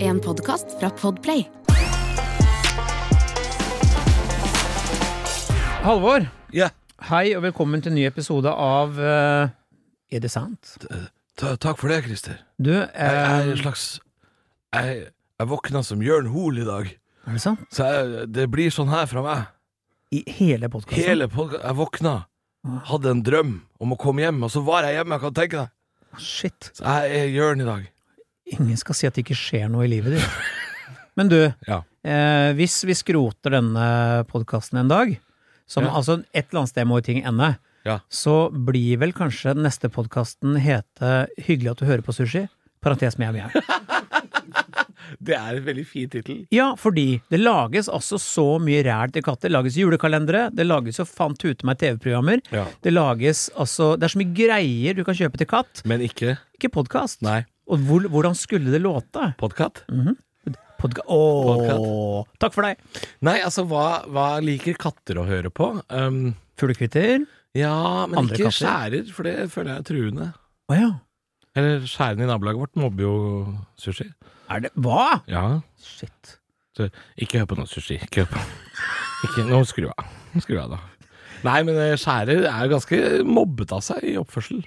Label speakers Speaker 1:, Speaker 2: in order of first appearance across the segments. Speaker 1: en podkast fra Podplay.
Speaker 2: Halvor,
Speaker 3: Ja,
Speaker 2: hei og velkommen til en ny episode av eh, Er det sant?
Speaker 3: ta, takk for det, Christer.
Speaker 2: Du,
Speaker 3: Jeg er
Speaker 2: eh,
Speaker 3: en slags Jeg, jeg våkna som Jørn Hoel i dag,
Speaker 2: er det sant?
Speaker 3: så jeg, det blir sånn her fra meg.
Speaker 2: I hele podkasten?
Speaker 3: Hele podka Jeg våkna, hadde en drøm om å komme hjem, og så var jeg hjemme, jeg kan tenke deg.
Speaker 2: Shit.
Speaker 3: Så jeg er Jørn i dag.
Speaker 2: Ingen skal si at det ikke skjer noe i livet ditt. Men du,
Speaker 3: Ja.
Speaker 2: eh, hvis vi skroter denne podkasten en dag, som
Speaker 3: Ja.
Speaker 2: altså et eller annet sted må jo ting ende,
Speaker 3: Ja.
Speaker 2: så blir vel kanskje neste podkasten hete 'Hyggelig at du hører på sushi'? Parentes mjau, mjau.
Speaker 3: Det er en veldig fin tittel.
Speaker 2: Ja, fordi det lages altså så mye ræl til katter. Det lages julekalendere, det lages jo faen tute meg TV-programmer.
Speaker 3: Ja.
Speaker 2: Det lages altså Det er så mye greier du kan kjøpe til katt.
Speaker 3: Men ikke
Speaker 2: Ikke podkast.
Speaker 3: Nei.
Speaker 2: Og hvor, hvordan skulle det låte?
Speaker 3: Podkatt?
Speaker 2: Podka Ååå. Takk for deg.
Speaker 3: Nei, altså, hva, hva liker katter å høre på? Um,
Speaker 2: Fuglekvitter.
Speaker 3: ja, men
Speaker 2: Andre
Speaker 3: ikke
Speaker 2: katter?
Speaker 3: skjærer, for det føler jeg er truende.
Speaker 2: Å ja.
Speaker 3: Eller skjærene i nabolaget vårt mobber jo sushi.
Speaker 2: Er det Hva?!
Speaker 3: Ja,
Speaker 2: Shit.
Speaker 3: Så ikke hør på noe sushi. Ikke hør på. Ikke, nå skru av. Skru av, da. Nei, men eh, skjærer er jo ganske mobbet av seg i oppførsel.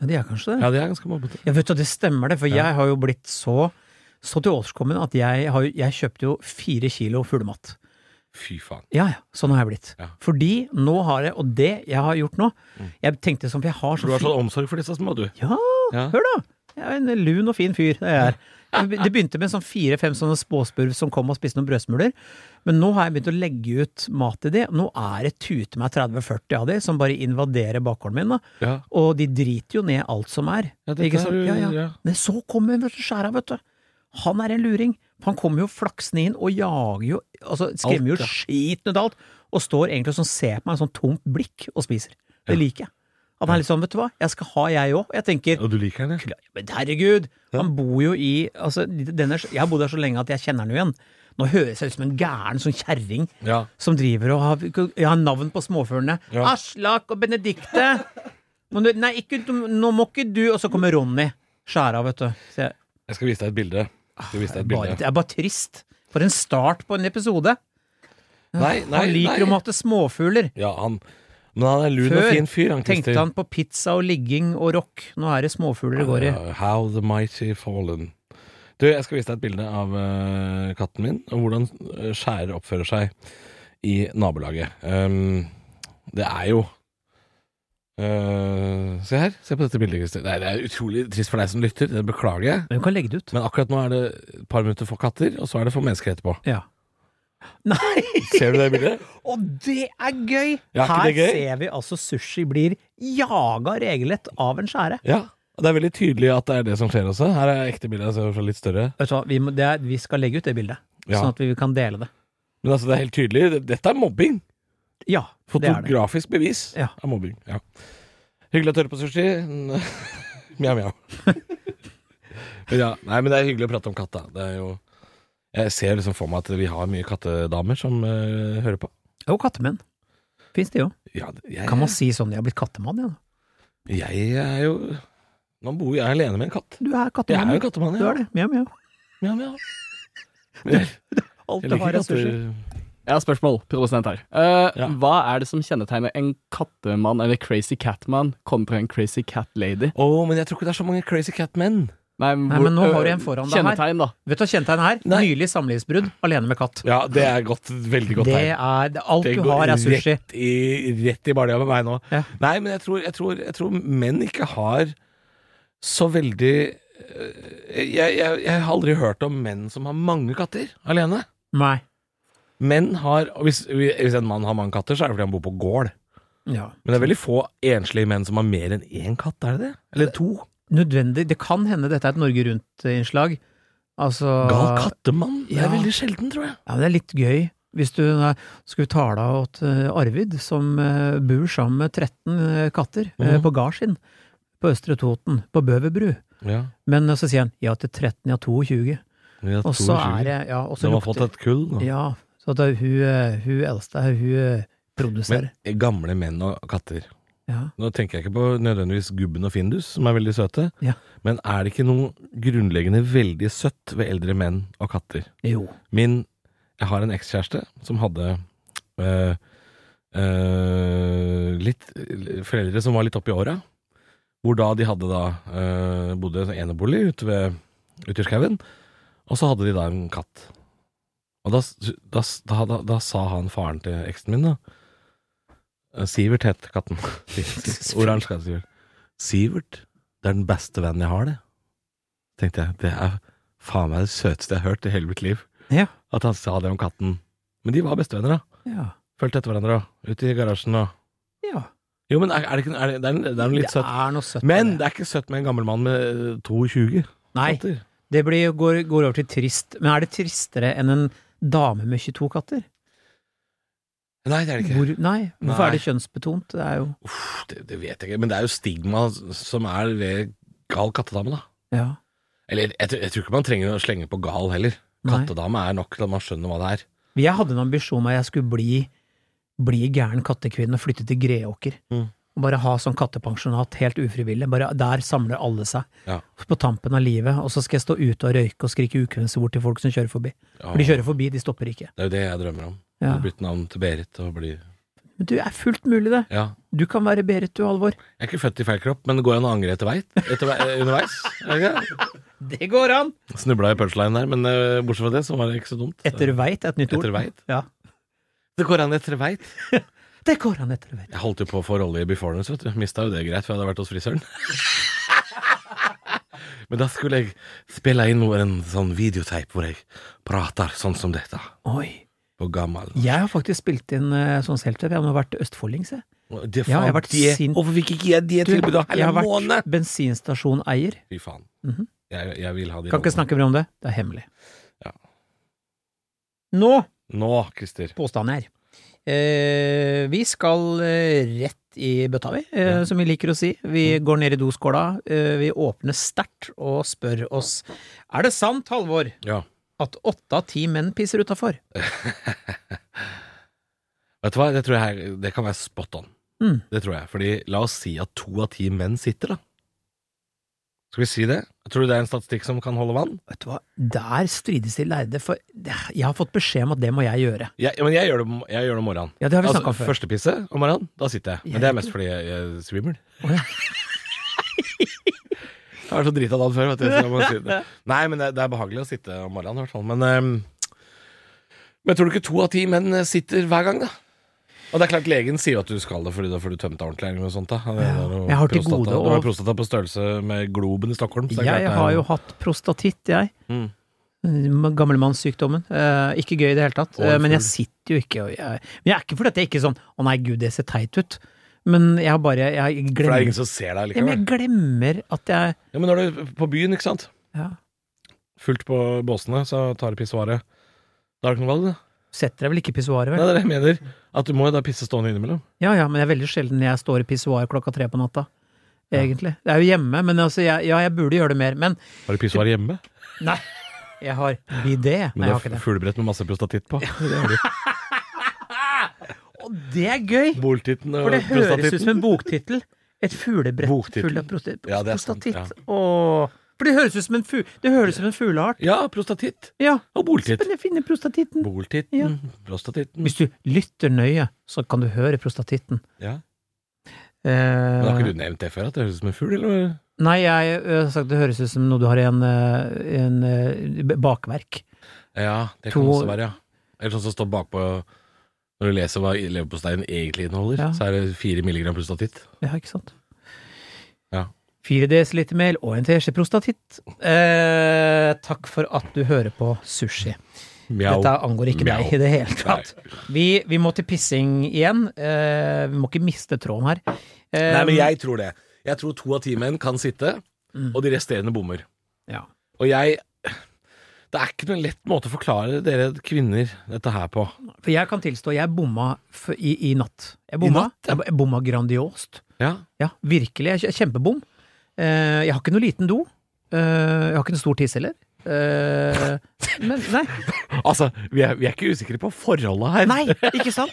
Speaker 2: Ja, det er kanskje det.
Speaker 3: Ja, de er ganske mobbete.
Speaker 2: Jeg vet at det stemmer, det, for
Speaker 3: Ja.
Speaker 2: jeg har jo blitt så så til årskommen at jeg, har, jo- jeg kjøpte jo fire kilo fuglemat.
Speaker 3: Fy faen.
Speaker 2: Ja, ja. Sånn har jeg blitt.
Speaker 3: Ja.
Speaker 2: Fordi nå har jeg, og det jeg har gjort nå Jeg tenkte sånn, for jeg har
Speaker 3: For
Speaker 2: så
Speaker 3: du har
Speaker 2: fi-
Speaker 3: sånn omsorg for disse små, du.
Speaker 2: Ja,
Speaker 3: Ja.
Speaker 2: hør da! Jeg er en lun og fin fyr. Det er. jeg. Det begynte med sånn fire-fem sånne spåspurv som kom og spiste noen brødsmuler. Men nå har jeg begynt å legge ut mat til de. Nå er det tute meg 30-40 av de som bare invaderer bakgården min. da.
Speaker 3: Ja.
Speaker 2: Og de driter jo ned alt som er.
Speaker 3: Ja, dette
Speaker 2: Ikke sant?
Speaker 3: har du-
Speaker 2: ja, ja.
Speaker 3: ja.
Speaker 2: Men så kommer vet du, skjæra, vet du. Han er en luring. Han kommer jo flaksende inn og jager jo altså Skremmer
Speaker 3: Alt,
Speaker 2: jo
Speaker 3: ja.
Speaker 2: skiten ut av alt. Og står egentlig og sånn, ser på meg med sånn tomt blikk og spiser. Det liker jeg. At han er litt sånn, vet du hva, jeg skal ha jeg òg. Jeg tenker
Speaker 3: Og du liker den, ja?
Speaker 2: ja, men herregud, han bor jo i altså, denne, Jeg har bodd her så lenge at jeg kjenner han jo igjen. Nå høres jeg ut som en gæren sånn kjerring
Speaker 3: Ja.
Speaker 2: som driver og har, jeg har navn på småfuglene.
Speaker 3: Ja.
Speaker 2: Aslak og Benedikte! Men du- Nei, ikke, du- nå må ikke du Og så kommer Ronny. Skjæra, vet du. Så jeg,
Speaker 3: Jeg skal vise deg et bilde. Jeg skal vise
Speaker 2: det,
Speaker 3: deg
Speaker 2: er
Speaker 3: et
Speaker 2: Ah, bare, det
Speaker 3: bilde.
Speaker 2: er bare trist. For en start på en episode.
Speaker 3: Nei, nei,
Speaker 2: Han liker å
Speaker 3: nei.
Speaker 2: mate småfugler.
Speaker 3: Ja, han Men han er en lun og
Speaker 2: Før
Speaker 3: fin fyr, han
Speaker 2: Tenkte
Speaker 3: Christer.
Speaker 2: han på pizza og ligging og rock. Nå er det småfugler det går i.
Speaker 3: Ja, Eh, How the mighty fallen. Du, jeg skal vise deg et bilde av eh, katten min, og hvordan eh, skjærer oppfører seg i nabolaget. Um, det er jo eh, Se her. Se på dette bildet, Christer. Nei, det er utrolig trist for deg som lytter, det beklager jeg.
Speaker 2: Men du kan legge det ut.
Speaker 3: Men akkurat nå er det et par minutter for katter, og så er det for mennesker etterpå.
Speaker 2: Ja. Nei!
Speaker 3: Ser du det bildet?
Speaker 2: Og det er gøy!
Speaker 3: Ja, ikke
Speaker 2: Her
Speaker 3: det gøy?
Speaker 2: ser vi altså sushi blir jaga regelrett av en skjære.
Speaker 3: Ja. og Det er veldig tydelig at det er det som skjer også. Her er ekte bilde, altså fra litt større.
Speaker 2: Vet du hva, vi, må, det er, vi skal legge ut det bildet,
Speaker 3: Ja.
Speaker 2: sånn at vi kan dele det.
Speaker 3: Men altså, det er helt tydelig. Dette er mobbing.
Speaker 2: Ja, det er det.
Speaker 3: Fotografisk bevis
Speaker 2: Ja.
Speaker 3: av mobbing. Ja. Hyggelig å tørre på sushi. mjau, mjau. Men ja, nei, men det er hyggelig å prate om katta. Det er jo Jeg ser liksom for meg at vi har mye kattedamer som eh, hører på.
Speaker 2: Og kattemenn. Fins det jo.
Speaker 3: Ja, jeg,
Speaker 2: Kan man si sånn de har blitt kattemann, ja?
Speaker 3: jeg er jo Nå bor jeg alene med en katt.
Speaker 2: Du er
Speaker 3: Jeg er
Speaker 2: kattemann.
Speaker 3: jo en kattemann,
Speaker 2: Du
Speaker 3: ja.
Speaker 2: er det. Mjau, mjau.
Speaker 3: Mjau, mjau. Jeg,
Speaker 2: Alt
Speaker 3: jeg
Speaker 2: du har
Speaker 3: liker
Speaker 2: av sushi.
Speaker 3: katter.
Speaker 4: Jeg har spørsmål, produsent her. Eh,
Speaker 3: Ja.
Speaker 4: Hva er det som kjennetegner en kattemann eller crazy catman kontra en crazy cat lady?
Speaker 3: Å, men jeg tror ikke det er så mange crazy cat-menn.
Speaker 4: Nei, eh,
Speaker 2: Nei, men nå har du en foran deg her.
Speaker 4: Kjennetegn, da.
Speaker 2: Vet du hva kjennetegnet her?
Speaker 3: Nei.
Speaker 2: Nylig samlivsbrudd, alene med katt.
Speaker 3: Ja, det er godt, veldig godt
Speaker 2: Det
Speaker 3: tegn.
Speaker 2: er det- Alt
Speaker 3: Det
Speaker 2: du
Speaker 3: går
Speaker 2: har, er sushi.
Speaker 3: Rett i, rett i balja med meg nå.
Speaker 2: Ja.
Speaker 3: Nei, men jeg tror, jeg, tror, jeg tror menn ikke har så veldig eh, jeg, jeg, jeg har aldri hørt om menn som har mange katter alene.
Speaker 2: Nei.
Speaker 3: Menn har og hvis, hvis en mann har mange katter, så er det fordi han bor på gård.
Speaker 2: Ja.
Speaker 3: Men det er veldig få enslige menn som har mer enn én katt, er det det? Eller to?
Speaker 2: Nødvendig. Det kan hende dette er et Norge Rundt-innslag. Altså
Speaker 3: Gal kattemann? Det er
Speaker 2: Ja.
Speaker 3: veldig sjelden, tror jeg.
Speaker 2: Ja, men det er litt gøy. Hvis du da skulle tale til Arvid, som eh, bor sammen med 13 katter eh,
Speaker 3: Mhm.
Speaker 2: på Garsin, på Østre Toten, på Bøverbru.
Speaker 3: Ja.
Speaker 2: Men eh, så sier han ja til 13, ja 22. Og så er det ja, og så
Speaker 3: De har fått
Speaker 2: lukter
Speaker 3: et kull nå.
Speaker 2: Ja, så at det er hun, eh, hun eldste, hun eh, produserer.
Speaker 3: Men gamle menn og katter.
Speaker 2: Ja.
Speaker 3: Nå tenker jeg ikke på nødvendigvis gubben og findus, som er veldig søte,
Speaker 2: Ja.
Speaker 3: men er det ikke noe grunnleggende veldig søtt ved eldre menn og katter?
Speaker 2: Jo.
Speaker 3: Min Jeg har en ekskjæreste som hadde eh, eh, litt foreldre som var litt oppi åra. Hvor da de hadde da eh, bodde i en enebolig ute ved ute i skauen. Og så hadde de da en katt. Og da, s- da, s- da, da, da sa han faren til eksen min, da eh, Sivert het katten. Oransje katt, Sivert. Sivert, det er den beste vennen jeg har, det. Tenkte jeg. Det er faen meg det søteste jeg har hørt i hele mitt liv.
Speaker 2: Ja.
Speaker 3: At han sa det om katten. Men de var bestevenner, da.
Speaker 2: Ja.
Speaker 3: Fulgte etter hverandre og ut i garasjen og
Speaker 2: ja.
Speaker 3: Jo, men er, er det ikke er det, det, er, en- det er noe litt søtt.
Speaker 2: er noe søtt. i
Speaker 3: Men det er ikke søtt med en gammel mann med 22
Speaker 2: Nei,
Speaker 3: katter.
Speaker 2: det blir, går, går over til trist. Men er det tristere enn en dame med 22 katter?
Speaker 3: Nei, det er det ikke.
Speaker 2: Hvor, nei, hvorfor
Speaker 3: Nei.
Speaker 2: er det kjønnsbetont? Det er jo
Speaker 3: Uff, det, det vet jeg ikke. Men det er jo stigma som er ved gal kattedame, da.
Speaker 2: Ja.
Speaker 3: Eller jeg, tror- jeg tror ikke man trenger å slenge på gal heller.
Speaker 2: Nei.
Speaker 3: Kattedame er nok til at man skjønner hva det er.
Speaker 2: Jeg hadde en ambisjon om at jeg skulle bli, bli gæren kattekvinne og flytte til Greåker.
Speaker 3: Mm.
Speaker 2: Og bare ha sånn kattepensjonat helt ufrivillig. Bare Der samler alle seg.
Speaker 3: Ja.
Speaker 2: På tampen av livet. Og så skal jeg stå ute og røyke og skrike ukvemsord til folk som kjører forbi.
Speaker 3: Ja,
Speaker 2: For de kjører forbi, de stopper ikke.
Speaker 3: Det er jo det jeg drømmer om.
Speaker 2: Ja.
Speaker 3: Å bytte navn til Berit og bli
Speaker 2: Men du er fullt mulig, det.
Speaker 3: Ja.
Speaker 2: Du kan være Berit, du, Halvor.
Speaker 3: Jeg er ikke født i feil kropp, men det går an å angre etter vei, etter vei underveis. Er det ikke?
Speaker 2: Det går an!
Speaker 3: Snubla i punchline der, men eh, bortsett fra det, så var det ikke så dumt.
Speaker 2: Etter veit er et nytt ord.
Speaker 3: Etter veit?
Speaker 2: Ja.
Speaker 3: Det går an etter veit.
Speaker 2: Det går an etter veit.
Speaker 3: Jeg holdt jo på å få rolle i Beforeness, vet du. Mista jo det greit, for jeg hadde vært hos frisøren. men da skulle jeg spille inn en sånn videoteip hvor jeg prater sånn som dette,
Speaker 2: Oi.
Speaker 3: på gammal.
Speaker 2: Jeg har faktisk spilt inn eh, sånn self-tv. Jeg har vært østfoldings, jeg.
Speaker 3: Og Det,
Speaker 2: Ja, jeg har vært
Speaker 3: det,
Speaker 2: sint.
Speaker 3: Hvorfor fikk ikke jeg det
Speaker 2: Du,
Speaker 3: tilbudet av
Speaker 2: jeg har
Speaker 3: hele
Speaker 2: vært
Speaker 3: måned?
Speaker 2: bensinstasjoneier.
Speaker 3: Fy faen.
Speaker 2: Mhm.
Speaker 3: jeg, jeg vil ha de
Speaker 2: Kan ikke
Speaker 3: rollene.
Speaker 2: snakke mer om det. Det er hemmelig.
Speaker 3: Ja.
Speaker 2: Nå,
Speaker 3: Nå, Christer.
Speaker 2: påstanden her. Eh, vi skal eh, rett i bøtta, vi, eh, som vi liker å si. Vi går ned i doskåla, eh, vi åpner sterkt og spør oss Er det sant, Halvor,
Speaker 3: Ja.
Speaker 2: at åtte av ti menn pisser utafor?
Speaker 3: Vet du hva, det tror jeg er- det kan være spot on.
Speaker 2: Mm.
Speaker 3: Det tror jeg. Fordi la oss si at to av ti menn sitter, da. Skal vi si det? Tror du det er en statistikk som kan holde vann?
Speaker 2: Vet du hva, der strides de lærde, for jeg har fått beskjed om at det må jeg gjøre.
Speaker 3: Jeg, ja, men jeg gjør det, om- jeg gjør det om morgenen.
Speaker 2: Ja, det har vi snakka
Speaker 3: Altså,
Speaker 2: om før.
Speaker 3: første pisse om morgenen, da sitter jeg. Men
Speaker 2: Jeg
Speaker 3: det er
Speaker 2: gjør
Speaker 3: mest fordi jeg, jeg svimmel.
Speaker 2: Å, ja.
Speaker 3: jeg har vært så drita dagen før, vet du. Så jeg må si det. Nei, men det, det er behagelig å sitte om morgenen, i hvert fall. Men, ehm, men tror du ikke to av ti menn eh, sitter hver gang, da? Og det er klart legen sier jo at du skal det fordi da får du tømt deg ordentlig eller noe sånt. da Det er
Speaker 2: Ja.
Speaker 3: noe
Speaker 2: Jeg har til
Speaker 3: prostata-
Speaker 2: gode
Speaker 3: Du har
Speaker 2: å-
Speaker 3: prostata på størrelse med globen i Stockholm. så det er klart det
Speaker 2: Jeg
Speaker 3: er-
Speaker 2: har jo hatt prostatitt, jeg.
Speaker 3: Mm.
Speaker 2: Gammelmannssykdommen. Eh, ikke gøy i det hele tatt.
Speaker 3: Å,
Speaker 2: Eh, men jeg
Speaker 3: full.
Speaker 2: sitter jo ikke og jeg, Men jeg er ikke fordi at jeg ikke er sånn 'Å nei, gud, det ser teit ut'. Men jeg har bare Jeg
Speaker 3: For det er ingen
Speaker 2: glemmer,
Speaker 3: som ser deg
Speaker 2: ja, men
Speaker 3: likevel.
Speaker 2: jeg glemmer at jeg
Speaker 3: Ja, men når du er på byen, ikke sant.
Speaker 2: ja,
Speaker 3: Fullt på båsene, så tar du pissoaret. Da har du ikke noe valg, da.
Speaker 2: Setter deg vel ikke i pissoaret,
Speaker 3: Nei,
Speaker 2: vel?
Speaker 3: det er det jeg mener. At du må jo da pisse stående innimellom.
Speaker 2: Ja ja, men det er veldig sjelden jeg står i pissoar klokka tre på natta. Egentlig. Det er jo hjemme, men altså, jeg, ja, jeg burde gjøre det mer. Men
Speaker 3: Har du pissoar hjemme?
Speaker 2: nei, jeg har bidé. Nei, jeg
Speaker 3: Men du
Speaker 2: har ikke
Speaker 3: har
Speaker 2: det.
Speaker 3: fuglebrett med masse prostatitt på. Det har du.
Speaker 2: Og det er gøy!
Speaker 3: Boltitten og
Speaker 2: For det høres ut som
Speaker 3: prostatitten.
Speaker 2: en boktittel. Et fuglebrett
Speaker 3: Eh, Boktittel.
Speaker 2: full av prosti-
Speaker 3: Ja, det er sant,
Speaker 2: prostatitt.
Speaker 3: ja.
Speaker 2: Åh. For det høres ut som en, fu det høres ut som en fugleart.
Speaker 3: Ja, prostatitt.
Speaker 2: Ja,
Speaker 3: Og boltitt.
Speaker 2: men jeg finner prostatitten.
Speaker 3: Boltitten,
Speaker 2: Ja.
Speaker 3: prostatitten.
Speaker 2: Hvis du lytter nøye, så kan du høre prostatitten.
Speaker 3: Ja. Men har
Speaker 2: Eh,
Speaker 3: ikke du nevnt det før, at det høres ut som en fugl, eller?
Speaker 2: nei, jeg ø, har sagt det høres ut som noe du har i en, ø, en ø, b- bakverk.
Speaker 3: Ja, det
Speaker 2: To-
Speaker 3: kan også være, ja. Eller sånn som står bakpå når du leser hva leverposteien egentlig inneholder,
Speaker 2: Ja.
Speaker 3: så er det fire milligram prostatitt.
Speaker 2: Ja, ikke sant?
Speaker 3: Ja.
Speaker 2: 4 dl mel og en teskje prostatitt. Eh, takk for at du hører på Sushi.
Speaker 3: Mjau.
Speaker 2: Dette angår ikke
Speaker 3: Mjau.
Speaker 2: meg i det hele tatt. Vi, vi må til pissing igjen. Eh, vi må ikke miste tråden her. Eh,
Speaker 3: Nei, men jeg tror det. Jeg tror to av ti menn kan sitte,
Speaker 2: Mm.
Speaker 3: og de resterende bommer.
Speaker 2: ja.
Speaker 3: Og jeg Det er ikke noen lett måte å forklare dere kvinner dette her på.
Speaker 2: For jeg kan tilstå, jeg bomma f i, i natt. Jeg bomma,
Speaker 3: natt, ja.
Speaker 2: jeg, jeg bomma grandiost.
Speaker 3: Ja.
Speaker 2: Ja, virkelig. Jeg, kj- kjempebom. Eh, jeg har ikke noe liten do. Eh, jeg har ikke noe stor tiss heller. Eh, men nei,
Speaker 3: Altså, vi er, vi er ikke usikre på forholdet her.
Speaker 2: nei, ikke sant?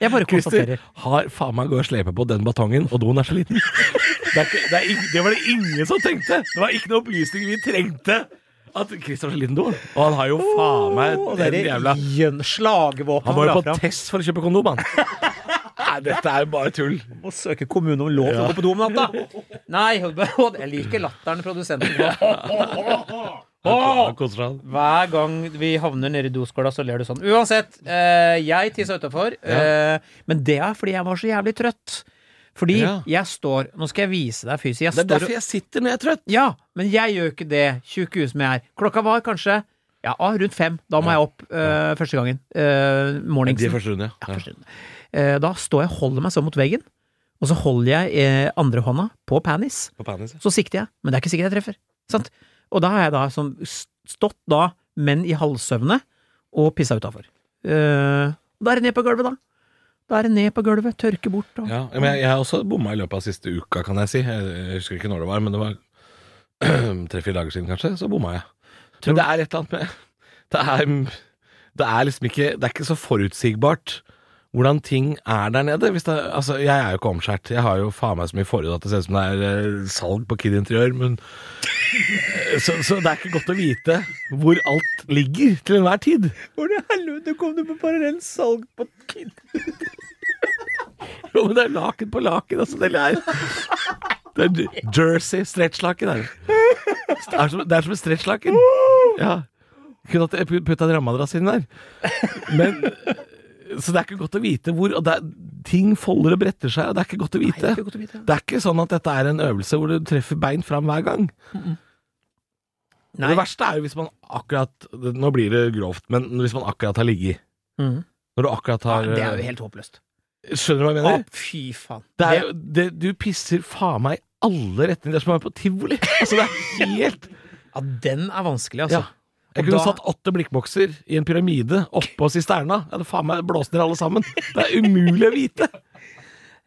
Speaker 2: Jeg bare
Speaker 3: Christer
Speaker 2: konstaterer.
Speaker 3: har faen meg gått og slepe på den batongen, og doen er så liten. Det, er ikke, det, er, ing- det var det ingen som tenkte! Det var ikke noen opplysning vi trengte! At Christer har så liten do. Og han har jo faen
Speaker 2: Og
Speaker 3: meg
Speaker 2: dere
Speaker 3: den jævla
Speaker 2: gjøn- slagvåpen
Speaker 3: Han var jo
Speaker 2: drar
Speaker 3: på
Speaker 2: fram.
Speaker 3: test for å kjøpe kondom, han. Nei, dette er jo bare tull.
Speaker 2: Må søke kommunen om lov til å gå på do om natta! Nei, jeg liker latteren produsenten har. Åh!
Speaker 3: Han koser seg.
Speaker 2: Hver gang vi havner nede i doskåla, så ler du sånn. Uansett, eh, jeg tissa utafor. Eh, men det er fordi jeg var så jævlig trøtt. Fordi
Speaker 3: Ja.
Speaker 2: jeg står Nå skal jeg vise deg fysisk. Jeg
Speaker 3: Det er
Speaker 2: står,
Speaker 3: derfor jeg sitter når jeg er trøtt.
Speaker 2: Ja, men jeg gjør ikke det, tjukk hue som jeg er. Klokka var kanskje ja, ah, rundt fem. Da må jeg opp eh, første gangen. Eh,
Speaker 3: De
Speaker 2: morningsen.
Speaker 3: første runde,
Speaker 2: Ja, første runden. Eh, da står jeg og holder meg sånn mot veggen, og så holder jeg eh, andrehånda på panties.
Speaker 3: På penis.
Speaker 2: Så sikter jeg, men det er ikke sikkert jeg treffer. Sant? Og da har jeg da som stått da, men i halvsøvne, og pissa utafor. da er det ned på gulvet, da. Da er det ned på gulvet, tørke bort og
Speaker 3: Ja, men jeg, jeg har også bomma i løpet av siste uka, kan jeg si. Jeg, jeg husker ikke når det var, men det var tre-fire dager siden, kanskje. Så bomma jeg.
Speaker 2: Tror-
Speaker 3: Men det er et eller annet med Det er, det er liksom ikke Det er ikke så forutsigbart hvordan ting er der nede. Hvis det, altså, jeg er jo ikke omskjært. Jeg har jo faen meg så mye forhud at det ser ut som det er eh, salg på Kid Interiør, men eh, så, så det er ikke godt å vite hvor alt ligger til enhver tid.
Speaker 2: Hvordan i helvete kom du på parallell salg på Kid?
Speaker 3: Jo, men det er laken på laken, altså. Det er, det er jer- jersey stretchlaken. er det. Det er som, det er som en stretchlaken. Ja. Kunne hatt putta en rammadrass inn der. Men Så det er ikke godt å vite hvor og det er, Ting folder og bretter seg, og det er ikke godt å vite.
Speaker 2: ikke godt å vite.
Speaker 3: Det er ikke sånn at dette er en øvelse hvor du treffer bein fram hver gang.
Speaker 2: Nei.
Speaker 3: Det verste er jo hvis man akkurat Nå blir det grovt, men hvis man akkurat har ligget.
Speaker 2: Mhm.
Speaker 3: Når du akkurat
Speaker 2: Ja,
Speaker 3: har eh,
Speaker 2: det er jo helt håpløst.
Speaker 3: Skjønner du hva jeg
Speaker 2: Å,
Speaker 3: mener?
Speaker 2: fy faen.
Speaker 3: eh, Det er jo, det, du pisser faen meg i alle retninger. Det er som å være på tivoli. Altså, det er helt
Speaker 2: ja, den er vanskelig,
Speaker 3: ja.
Speaker 2: altså.
Speaker 3: Jeg
Speaker 2: Og
Speaker 3: kunne
Speaker 2: da-
Speaker 3: satt åtte blikkbokser i en pyramide oppå sisterna. Jeg hadde faen meg blåst ned alle sammen. Det er umulig å vite.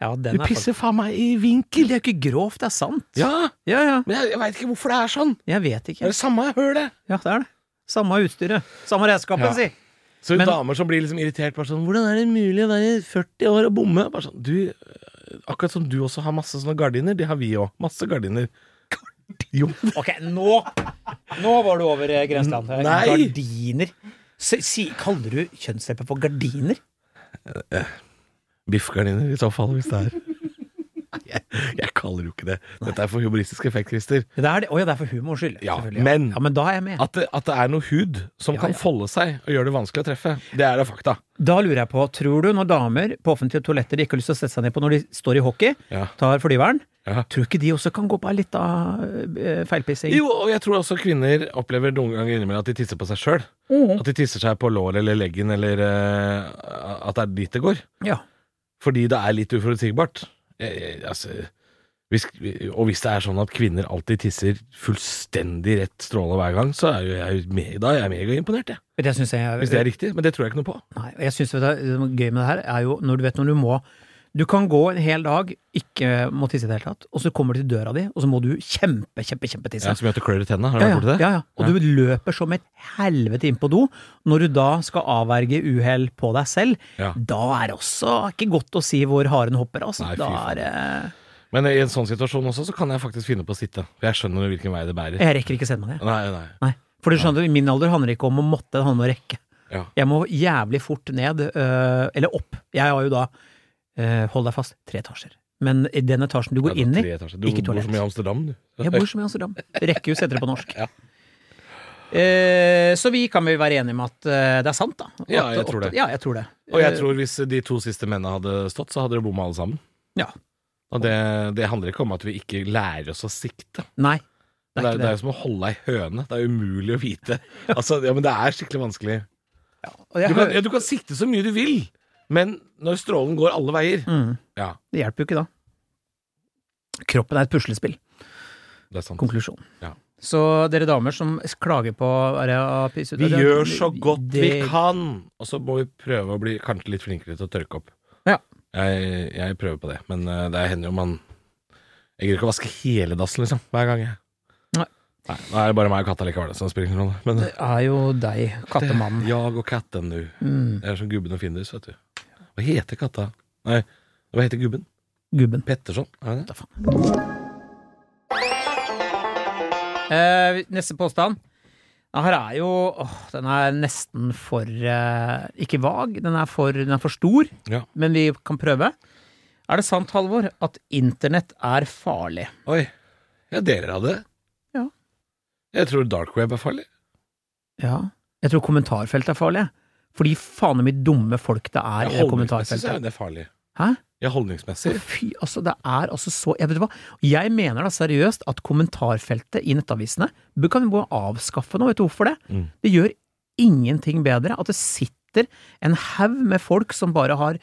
Speaker 2: Ja,
Speaker 3: Du
Speaker 2: den er faktisk
Speaker 3: pisser faen meg i vinkel.
Speaker 2: Det er jo ikke grovt, det er sant.
Speaker 3: Ja,
Speaker 2: ja. ja.
Speaker 3: men jeg, jeg veit ikke hvorfor det er sånn.
Speaker 2: Jeg vet
Speaker 3: Det
Speaker 2: ikke.
Speaker 3: er det samme hølet.
Speaker 2: Ja, det er det. Samme utstyret. Samme redskapen,
Speaker 3: Ja.
Speaker 2: si.
Speaker 3: Så
Speaker 2: Men-
Speaker 3: damer som blir liksom irritert, bare sånn Hvordan er det mulig å være 40 år og bomme? Bare sånn, du, akkurat som du også har masse sånne gardiner, det har vi òg. Masse gardiner. Jo,
Speaker 2: Ok, nå Nå var du over eh, grenseland. Eh,
Speaker 3: Nei.
Speaker 2: Gardiner. Si, si, kaller du kjønnslepper for gardiner?
Speaker 3: Biffgardiner i så fall, hvis det er. Nei, Jeg, jeg kaller det jo ikke det. Dette er for humoristisk effekt, Christer.
Speaker 2: Det er det. Å ja, det er for humors skyld.
Speaker 3: Ja,
Speaker 2: selvfølgelig,
Speaker 3: men-
Speaker 2: ja, men da er jeg med.
Speaker 3: At det, at det er noe hud som
Speaker 2: Ja,
Speaker 3: kan
Speaker 2: ja.
Speaker 3: folde seg og gjøre det vanskelig å treffe, det er da fakta.
Speaker 2: Da lurer jeg på, tror du når damer på offentlige toaletter de ikke har lyst til å sette seg ned på når de står i hockey,
Speaker 3: Ja.
Speaker 2: tar flyveren,
Speaker 3: Ja.
Speaker 2: tror du ikke de også kan gå på ei lita eh, feilpissing?
Speaker 3: Jo, og jeg tror også kvinner opplever noen ganger innimellom at de tisser på seg sjøl. At de tisser seg på låret eller leggen, eller eh, at det er dit det går.
Speaker 2: Ja.
Speaker 3: Fordi det er litt uforutsigbart. Jeg, jeg, altså, hvis, og hvis det er sånn at kvinner alltid tisser fullstendig rett stråle hver gang, så er jo jeg, me- da er jeg megaimponert, jeg.
Speaker 2: Men Det synes jeg
Speaker 3: Hvis det er riktig. Men det tror jeg ikke noe på.
Speaker 2: Nei, og jeg synes vet du, det gøy med det her er jo når du vet når du må Du kan gå en hel dag, ikke må tisse i det hele tatt, og så kommer du til døra di, og så må du kjempe, kjempe, kjempe tisse.
Speaker 3: Ja, som gjør at du klør i tenna? Har du
Speaker 2: Ja,
Speaker 3: vært borti
Speaker 2: ja,
Speaker 3: det?
Speaker 2: ja, ja. Og
Speaker 3: Ja.
Speaker 2: du løper som et helvete inn på do. Når du da skal avverge uhell på deg selv,
Speaker 3: Ja.
Speaker 2: da er det også ikke godt å si hvor haren hopper. Altså.
Speaker 3: Nei, fy
Speaker 2: da
Speaker 3: faen.
Speaker 2: er, det-
Speaker 3: Men i en sånn situasjon også, så kan jeg faktisk finne på å sitte. For jeg skjønner hvilken vei det bærer.
Speaker 2: jeg rekker ikke sende meg ned.
Speaker 3: Nei, nei.
Speaker 2: Nei. For du skjønner, I min alder handler det ikke om å måtte, det handler om å rekke.
Speaker 3: Ja.
Speaker 2: Jeg må jævlig fort ned, øh, eller opp. Jeg har jo da, øh, hold deg fast, tre etasjer. Men i den etasjen du går
Speaker 3: Ja,
Speaker 2: inn i
Speaker 3: tre etasjer. Du
Speaker 2: ikke
Speaker 3: bor
Speaker 2: toalett.
Speaker 3: som i Amsterdam, du.
Speaker 2: Jeg bor som i Amsterdam. Rekkehus heter det på norsk.
Speaker 3: Ja.
Speaker 2: Eh, så vi kan vel være enige om at eh, det er sant, da?
Speaker 3: Ja,
Speaker 2: At-
Speaker 3: jeg tror det.
Speaker 2: at- Ja, jeg tror det.
Speaker 3: Og jeg
Speaker 2: Eh,
Speaker 3: tror hvis de to siste mennene hadde stått, så hadde dere bomma alle sammen.
Speaker 2: Ja.
Speaker 3: Og det, det handler ikke om at vi ikke lærer oss å sikte.
Speaker 2: Eh, Nei.
Speaker 3: Det
Speaker 2: Det
Speaker 3: er,
Speaker 2: er
Speaker 3: det
Speaker 2: ikke
Speaker 3: er
Speaker 2: det.
Speaker 3: jo som å holde ei høne. Det er umulig å vite. Altså, ja, men det er skikkelig vanskelig.
Speaker 2: Og
Speaker 3: Du
Speaker 2: jeg
Speaker 3: kan,
Speaker 2: hører-
Speaker 3: ja, du kan sikte så mye du vil, men når strålen går alle veier
Speaker 2: mm,
Speaker 3: Ja,
Speaker 2: det hjelper jo ikke da. Kroppen er et puslespill.
Speaker 3: det er sant.
Speaker 2: Konklusjon.
Speaker 3: Ja.
Speaker 2: Så dere damer som klager på er det å pisse ut
Speaker 3: Vi
Speaker 2: er det-
Speaker 3: gjør så godt vi
Speaker 2: det-
Speaker 3: kan, og så må vi prøve å bli kanskje litt flinkere til å tørke opp.
Speaker 2: Ja.
Speaker 3: Jeg, jeg prøver på det, men eh, det hender jo man Jeg gidder ikke å vaske hele dassen, liksom, hver gang. jeg
Speaker 2: Nei.
Speaker 3: Nei, Nå er det bare meg og katta likevel, så det spiller ingen rolle. Men
Speaker 2: Det er jo deg, kattemannen.
Speaker 3: jag og katten, du.
Speaker 2: Mm.
Speaker 3: Det er som gubben og Findus, vet du. Hva heter katta? Nei, hva heter gubben?
Speaker 2: Gubben.
Speaker 3: Petterson? Er det det?
Speaker 2: Eh, neste påstand. Ja, her er jo åh, Den er nesten for eh, Ikke vag, den er for, den er for stor,
Speaker 3: Ja.
Speaker 2: men vi kan prøve. Er det sant, Halvor, at internett er farlig?
Speaker 3: Oi. Ja, deler av det.
Speaker 2: Ja.
Speaker 3: Jeg tror dark web er farlig.
Speaker 2: Ja. Jeg tror kommentarfelt er farlig. jeg. Fordi faen hvor mye dumme folk det er i det
Speaker 3: holdningsmessig så er
Speaker 2: kommentarfeltet.
Speaker 3: det farlig.
Speaker 2: Hæ?
Speaker 3: Ja, holdningsmessig.
Speaker 2: Fy, altså, det er altså så Jeg vet du hva, jeg mener da seriøst at kommentarfeltet i nettavisene bør- kan vi gå og avskaffe nå, vet du hvorfor det?
Speaker 3: Mm.
Speaker 2: Det gjør ingenting bedre at det sitter en haug med folk som bare har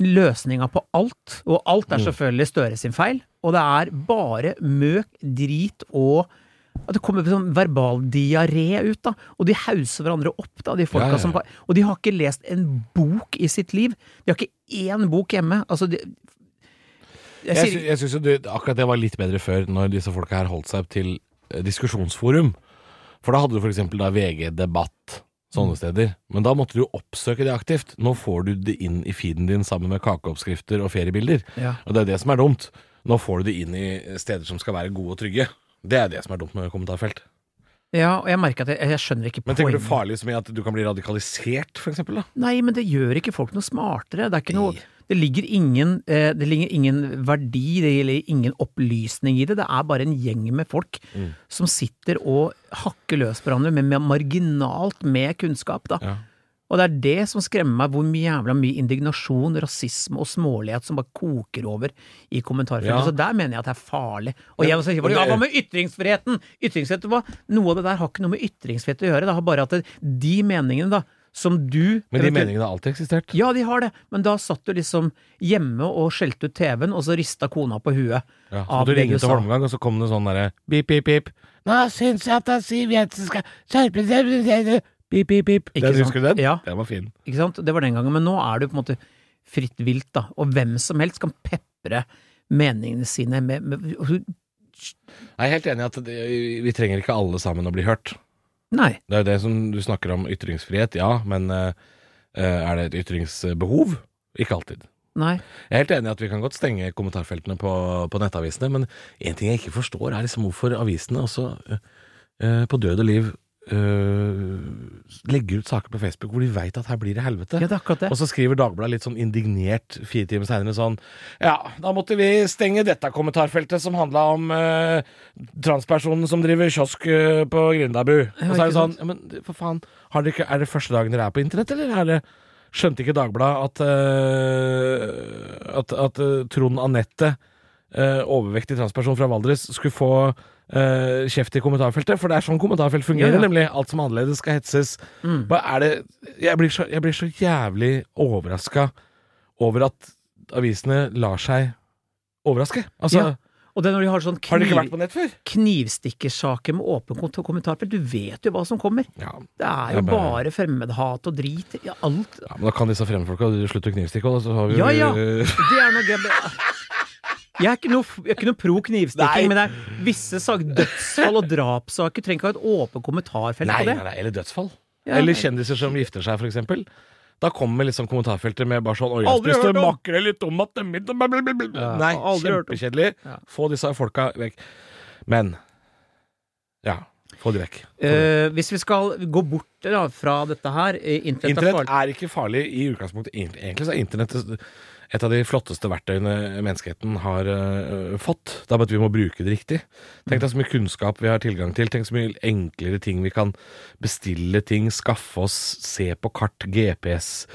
Speaker 2: løsninga på alt, og alt er
Speaker 3: Mm.
Speaker 2: selvfølgelig Støre sin feil, og det er bare møk, drit og at det kommer sånn verbaldiaré ut, da. Og de hauser hverandre opp, da, de folka
Speaker 3: Ja, ja, ja.
Speaker 2: som bare Og de har ikke lest en bok i sitt liv. De har ikke én bok hjemme. Altså, de Jeg
Speaker 3: Jeg,
Speaker 2: sier
Speaker 3: sy- jeg syns jo du, akkurat det var litt bedre før, når disse folka her holdt seg til eh, diskusjonsforum. For da hadde du for eksempel da VG Debatt,
Speaker 2: Mm.
Speaker 3: sånne steder. Men da måtte du jo oppsøke det aktivt. Nå får du det inn i feeden din sammen med kakeoppskrifter og feriebilder.
Speaker 2: ja.
Speaker 3: Og det er det som er dumt. Nå får du det inn i steder som skal være gode og trygge. Det er det som er dumt med kommentarfelt.
Speaker 2: ja, og jeg merker at jeg, jeg skjønner ikke
Speaker 3: Men tenker du farlig som i at du kan bli radikalisert, for eksempel, da?
Speaker 2: Nei, men det gjør ikke folk noe smartere. Det er ikke noe
Speaker 3: Nei.
Speaker 2: det ligger, ingen, eh, det ligger ingen verdi, det ligger ingen opplysning i det. Det er bare en gjeng med folk
Speaker 3: Mm.
Speaker 2: som sitter og hakker løs på hverandre, men med marginalt med kunnskap. da.
Speaker 3: Ja.
Speaker 2: Og det er det som skremmer meg, hvor mye jævla mye indignasjon, rasisme og smålighet som bare koker over i kommentarfeltet.
Speaker 3: Ja.
Speaker 2: Så der mener jeg at det er farlig. Og
Speaker 3: Men-
Speaker 2: jeg må si,
Speaker 3: men det-
Speaker 2: ja, hva med ytringsfriheten? Ytringsfrihet, hva? Noe av det der har ikke noe med ytringsfrihet å gjøre. Det har bare at det, de meningene, da, som du
Speaker 3: Men de
Speaker 2: eventuelt-
Speaker 3: meningene har alltid eksistert.
Speaker 2: ja, de har det, men da satt du liksom hjemme og skjelte ut TV-en, og så rista kona på huet.
Speaker 3: Ja, så
Speaker 2: av
Speaker 3: måtte du
Speaker 2: det
Speaker 3: ringe
Speaker 2: du
Speaker 3: til
Speaker 2: sa.
Speaker 3: Holmgang, og så kom det sånn derre pip, pip, pip. Nå syns jeg at da Siv Jensen skal skjerpe seg Pip, pip, pip.
Speaker 2: Ikke
Speaker 3: Den,
Speaker 2: sant?
Speaker 3: husker du den?
Speaker 2: Ja.
Speaker 3: Den var fin.
Speaker 2: Ikke sant? Det var den gangen, men nå er det jo på en måte fritt vilt, da. Og hvem som helst kan pepre meningene sine med, med
Speaker 3: Jeg er helt enig i at det, vi trenger ikke alle sammen å bli hørt.
Speaker 2: Nei.
Speaker 3: Det er jo det som du snakker om ytringsfrihet, ja, men eh, eh, er det et ytringsbehov? Ikke alltid.
Speaker 2: Nei.
Speaker 3: Jeg er helt enig i at vi kan godt stenge kommentarfeltene på, på nettavisene, men en ting jeg ikke forstår, er liksom hvorfor avisene også eh, eh, på død og liv eh, legger ut saker på Facebook hvor de veit at her blir det helvete.
Speaker 2: Ja, det er akkurat det.
Speaker 3: Og så skriver Dagbladet litt sånn indignert fire timer seinere sånn Ja, da måtte vi stenge dette kommentarfeltet som handla om eh, transpersonen som driver kiosk eh, på Grindabu. og så er
Speaker 2: ikke
Speaker 3: det sånn
Speaker 2: sant?
Speaker 3: ja, Men for faen, har dere ikke, er det første dagen dere er på internett, eller er det Skjønte ikke Dagbladet at, eh, at, at eh, Trond Anette, eh, overvektig transperson fra Valdres, skulle få eh, kjeft i kommentarfeltet? For det er sånn kommentarfelt fungerer,
Speaker 2: Ja, ja.
Speaker 3: nemlig. Alt som er annerledes skal hetses.
Speaker 2: Mm.
Speaker 3: Hva er det Jeg blir så, jeg blir så jævlig overraska over at avisene lar seg overraske. Altså,
Speaker 2: Ja. Og det er når de har sånn
Speaker 3: har dere ikke
Speaker 2: kniv,
Speaker 3: vært på nett før?
Speaker 2: knivstikkersaker med åpen kont- kommentarfelt, du vet jo hva som kommer.
Speaker 3: Ja,
Speaker 2: Det er jo
Speaker 3: Jeg bare-
Speaker 2: bare fremmedhat og drit i alt.
Speaker 3: ja men da kan disse fremmedfolka slutte å knivstikke, og så har vi
Speaker 2: Ja, ja. Det er noe jeg er ikke noe, jeg er ikke noe pro knivstikking,
Speaker 3: Nei.
Speaker 2: men det er visse sak, dødsfall og drapssaker. Trenger ikke ha et åpent kommentarfelt
Speaker 3: Nei,
Speaker 2: på det.
Speaker 3: nei, nei, eller dødsfall.
Speaker 2: Ja.
Speaker 3: Eller kjendiser som gifter seg, for eksempel. Da kommer liksom kommentarfeltet med bare sånn «Oi, jeg
Speaker 2: Aldri
Speaker 3: spiste
Speaker 2: hørt om!»
Speaker 3: makrell i tomat til middag, bla, bla, bla, bla.
Speaker 2: Ja,
Speaker 3: Nei,
Speaker 2: aldri hørt om.
Speaker 3: kjempekjedelig.
Speaker 2: Ja.
Speaker 3: Få disse folka vekk. Men Ja, få de vekk. Få de vekk.
Speaker 2: Eh, hvis vi skal gå bort da, fra dette her eh, Internett er
Speaker 3: Internett
Speaker 2: farlig.
Speaker 3: er ikke farlig i utgangspunktet. Egent- Egentlig så er internett et av de flotteste verktøyene menneskeheten har øh, fått. Det er bare at vi må bruke det riktig. Tenk deg så mye kunnskap vi har tilgang til. Tenk så mye enklere ting vi kan bestille ting, skaffe oss, se på kart, GPS.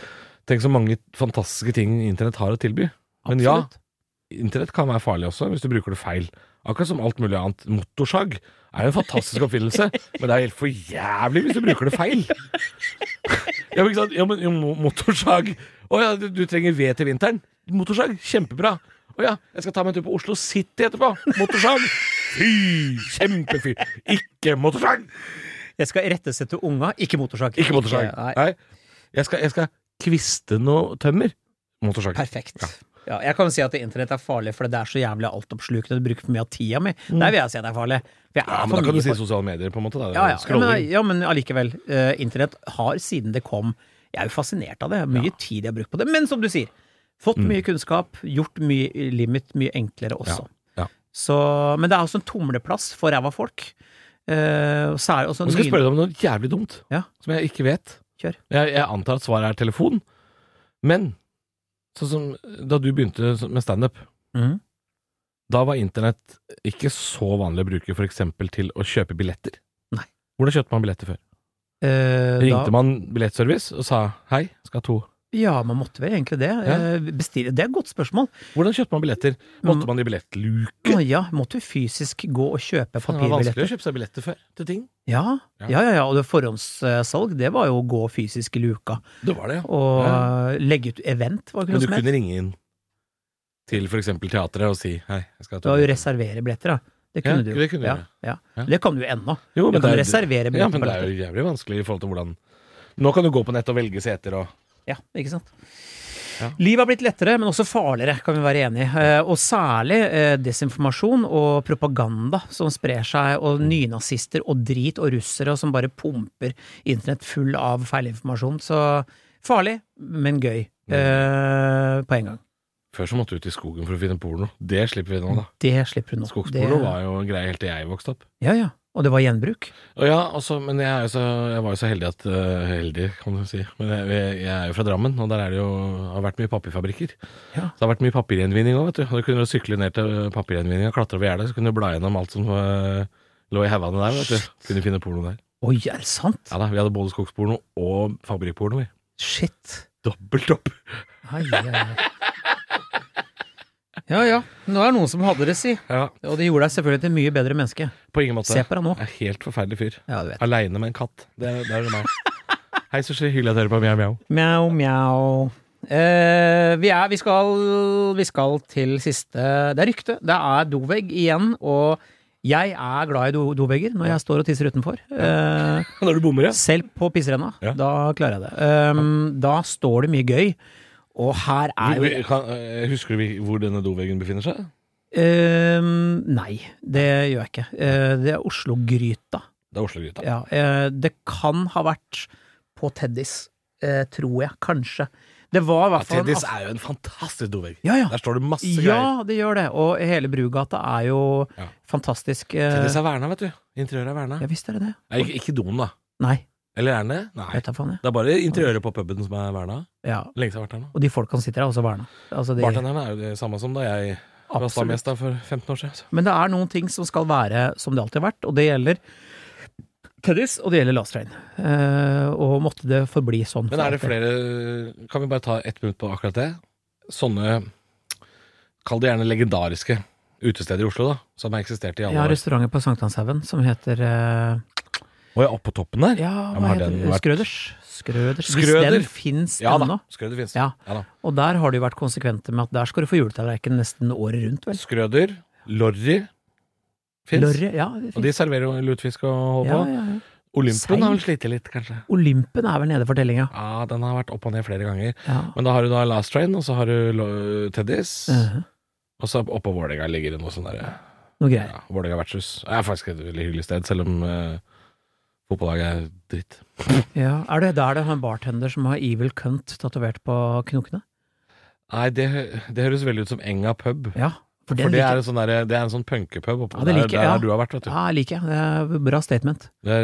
Speaker 3: Tenk så mange fantastiske ting internett har å tilby. Men ja,
Speaker 2: Absolutt.
Speaker 3: internett kan være farlig også, hvis du bruker det feil. Akkurat som alt mulig annet. Motorsag er jo en fantastisk oppfinnelse, men det er helt for jævlig hvis du bruker det feil. Ja, men ikke sant? Ja, men jo, mo- motorsag Å ja, du, du trenger ved til vinteren. Motorsag, kjempebra. Å ja, jeg skal ta meg en tur på Oslo City etterpå. Motorsag. Fy! Kjempefy. Ikke motorsag!
Speaker 2: Jeg skal irettesette unga, ikke motorsag.
Speaker 3: Ikke motorsag.
Speaker 2: Ikke- nei.
Speaker 3: Nei. Jeg skal, jeg skal kviste noe tømmer. Motorsag.
Speaker 2: Perfekt. Ja, jeg kan jo si at internett er farlig, for det er så jævlig altoppslukende. Du bruker for mye av tida mi. Der vil jeg si at det er farlig. For jeg er
Speaker 3: Mm. Ja,
Speaker 2: for
Speaker 3: men da kan
Speaker 2: mye på-
Speaker 3: du si sosiale medier, på en måte. Da.
Speaker 2: Ja, ja. ja,
Speaker 3: Eh, Scrolling.
Speaker 2: men, ja, men allikevel. eh, internett har siden det kom Jeg er jo fascinert av det. Mye tid jeg har brukt på det. Men som du sier, fått mye kunnskap, gjort mye i livet mitt mye enklere også.
Speaker 3: Mm. Ja, ja.
Speaker 2: Så, men det er også en tumleplass for ræva folk. Eh, og så er det også
Speaker 3: Nå skal jeg
Speaker 2: ny-
Speaker 3: spørre deg om noe jævlig dumt
Speaker 2: Ja.
Speaker 3: som jeg ikke vet.
Speaker 2: Kjør.
Speaker 3: Jeg, jeg antar at svaret er telefon, men sånn som da du begynte med standup,
Speaker 2: Mhm.
Speaker 3: da var internett ikke så vanlig å bruke f.eks. til å kjøpe billetter.
Speaker 2: Nei.
Speaker 3: Hvordan kjøpte man billetter før?
Speaker 2: Eh, da-
Speaker 3: Ringte man billettservice og sa hei, skal ha to.
Speaker 2: Ja, man måtte vel egentlig det. Eh, Bestille. Det er et godt spørsmål.
Speaker 3: Hvordan kjøpte man billetter?
Speaker 2: Mm.
Speaker 3: Måtte man i billettluke?
Speaker 2: Å Ja, måtte jo fysisk gå og kjøpe
Speaker 3: Det var vanskelig å
Speaker 2: papirbilletter.
Speaker 3: kjøpe seg billetter før til ting.
Speaker 2: Ja,
Speaker 3: Ja.
Speaker 2: ja, ja, ja. Og det forhåndssalg, det var jo å gå fysisk i luka.
Speaker 3: Det var det, ja.
Speaker 2: Og
Speaker 3: Ja.
Speaker 2: eh, legge ut event, var det ikke noe
Speaker 3: Men du
Speaker 2: som het.
Speaker 3: kunne ringe inn til f.eks. teatret og si hei, jeg skal ha
Speaker 2: Det
Speaker 3: to.
Speaker 2: var jo reservere billetter, da. Det
Speaker 3: Ja,
Speaker 2: kunne du jo.
Speaker 3: det kunne du
Speaker 2: ja,
Speaker 3: gjøre.
Speaker 2: ja.
Speaker 3: Ja.
Speaker 2: Det kan du jo ennå. Du
Speaker 3: Jo, men
Speaker 2: kan
Speaker 3: det er-
Speaker 2: reservere
Speaker 3: Ja, men det
Speaker 2: billetter.
Speaker 3: er jo jævlig vanskelig i forhold til hvordan Nå kan du gå på nett og velge seter og
Speaker 2: Ja, ikke sant.
Speaker 3: Ja.
Speaker 2: Livet har blitt lettere, men også farligere, kan vi være enige. Eh, Og særlig eh, desinformasjon og propaganda som sprer seg, og nynazister og drit og russere som bare pumper internett full av feilinformasjon. Så farlig, men gøy. Eh, på en gang.
Speaker 3: Før så måtte du ut i skogen for å finne porno. Det slipper vi nå, da.
Speaker 2: Det slipper du Mm. nå.
Speaker 3: Skogsporno
Speaker 2: Det-
Speaker 3: var jo en greie helt til jeg vokste opp.
Speaker 2: Ja, ja. Og det var gjenbruk.
Speaker 3: Og ja, også, men jeg, er jo så, jeg var jo så heldig at øh, Heldig, kan du si. Men jeg, jeg er jo fra Drammen, og der er det jo, har vært mye papirfabrikker.
Speaker 2: Ja.
Speaker 3: Så det har vært mye papirgjenvinning òg, vet du. Og Du kunne jo sykle ned til papirgjenvinninga, klatre over gjerdet, så kunne du bla gjennom alt som øh, lå i haugene der, vet du. Kunne finne porno der.
Speaker 2: Oi, er det sant?
Speaker 3: Ja da, vi hadde både skogsporno og fabrikkporno, vi.
Speaker 2: Shit.
Speaker 3: Dobbelt opp.
Speaker 2: Ai, ai, ai. Ja ja, nå er det noen som hadde det, si.
Speaker 3: Ja,
Speaker 2: Og det gjorde deg selvfølgelig til et mye bedre menneske.
Speaker 3: på ingen måte.
Speaker 2: Se på deg nå.
Speaker 3: Jeg er helt forferdelig fyr.
Speaker 2: Ja, du vet.
Speaker 3: Aleine med en katt. Det er det, er det meg. Hei, så hyggelig at dere er på Mjau Mjau.
Speaker 2: Mjau, mjau. Eh, vi, er, vi, skal, vi skal til siste Det er rykte. Det er dovegg igjen, og jeg er glad i do, dovegger når jeg står og tisser utenfor. Eh,
Speaker 3: Når du bommer,
Speaker 2: selv på pisserenna.
Speaker 3: Ja.
Speaker 2: Da klarer jeg det. Ehm, Da står det mye gøy. Og her er jo
Speaker 3: eh, Husker du vi- hvor denne doveggen befinner seg?
Speaker 2: Ehm, Nei, det gjør jeg ikke. Eh, det er Oslo-gryta.
Speaker 3: Det er Oslo-gryta.
Speaker 2: Ja, eh, det kan ha vært på Teddys, eh, tror jeg. Kanskje. Det var i
Speaker 3: Ja,
Speaker 2: hvert fall en
Speaker 3: Teddys
Speaker 2: aft-
Speaker 3: er jo en fantastisk dovegg.
Speaker 2: ja, ja.
Speaker 3: Der står det masse greier.
Speaker 2: Ja, det gjør det. Og hele Brugata er jo
Speaker 3: Ja.
Speaker 2: fantastisk. eh,
Speaker 3: Teddys er verna, vet du. Interiøret er verna.
Speaker 2: Ja visst er det det.
Speaker 3: Nei, ikke, ikke doen, da.
Speaker 2: Nei,
Speaker 3: Eller er den det? Nei.
Speaker 2: vet da faen jeg.
Speaker 3: Det er bare interiøret på puben som er verna.
Speaker 2: Ja.
Speaker 3: Lenge siden jeg har vært her nå.
Speaker 2: Og de folkene sitter der, også verna. Altså, de-
Speaker 3: Bartenderne er jo det samme som da jeg var
Speaker 2: absolutt.
Speaker 3: stamgjest der for 15 år siden. Så.
Speaker 2: Men det er noen ting som skal være som det alltid har vært, og det gjelder Teddys, og det gjelder Last Train. Eh, og måtte det forbli sånn.
Speaker 3: Men er det flere Kan vi bare ta ett minutt på akkurat det? Sånne Kall det gjerne legendariske utesteder i Oslo, da. Som har eksistert i alle
Speaker 2: Ja,
Speaker 3: år.
Speaker 2: restauranter på Sankthanshaugen som heter eh,
Speaker 3: Og ja, oppå toppen der?
Speaker 2: Ja,
Speaker 3: men
Speaker 2: hva
Speaker 3: har
Speaker 2: heter
Speaker 3: den
Speaker 2: det?
Speaker 3: vært-
Speaker 2: Skrøders. Skrøders.
Speaker 3: Skrøder?
Speaker 2: Hvis den fins
Speaker 3: Ja da.
Speaker 2: ennå.
Speaker 3: Skrøder finnes.
Speaker 2: Ja.
Speaker 3: Ja da.
Speaker 2: Og der har de jo vært konsekvente med at der skal du få juletallerken nesten året rundt, vel.
Speaker 3: Skrøder, Lorry fins.
Speaker 2: Lorry, ja, det
Speaker 3: Og de serverer jo lutefisk og holder
Speaker 2: Ja,
Speaker 3: på.
Speaker 2: ja, ja.
Speaker 3: Olympen
Speaker 2: Seil.
Speaker 3: har vel slitt litt, kanskje.
Speaker 2: Olympen er vel nede for tellinga.
Speaker 3: Ja, den har vært opp og ned flere ganger.
Speaker 2: Ja.
Speaker 3: Men da har du da Last Train, og så har du Lo- Teddys.
Speaker 2: Mhm.
Speaker 3: Og så oppå Vålerenga ligger det noe sånn derre
Speaker 2: Noe greier.
Speaker 3: ja, Vålerenga vertshus. Det er faktisk et veldig hyggelig sted, selv om eh, fotballaget er dritt.
Speaker 2: Ja. Er det der det er en bartender som har Evil Cunt tatovert på knokene?
Speaker 3: Nei, det, hø- det høres veldig ut som Enga pub.
Speaker 2: Ja. For, den
Speaker 3: For det er,
Speaker 2: liker jeg.
Speaker 3: en sånn der, det er en sånn punkepub oppå
Speaker 2: Ja, det liker
Speaker 3: der,
Speaker 2: jeg,
Speaker 3: der
Speaker 2: ja.
Speaker 3: du har vært, vet du.
Speaker 2: Ja, liker jeg. Det er bra statement.
Speaker 3: Det er,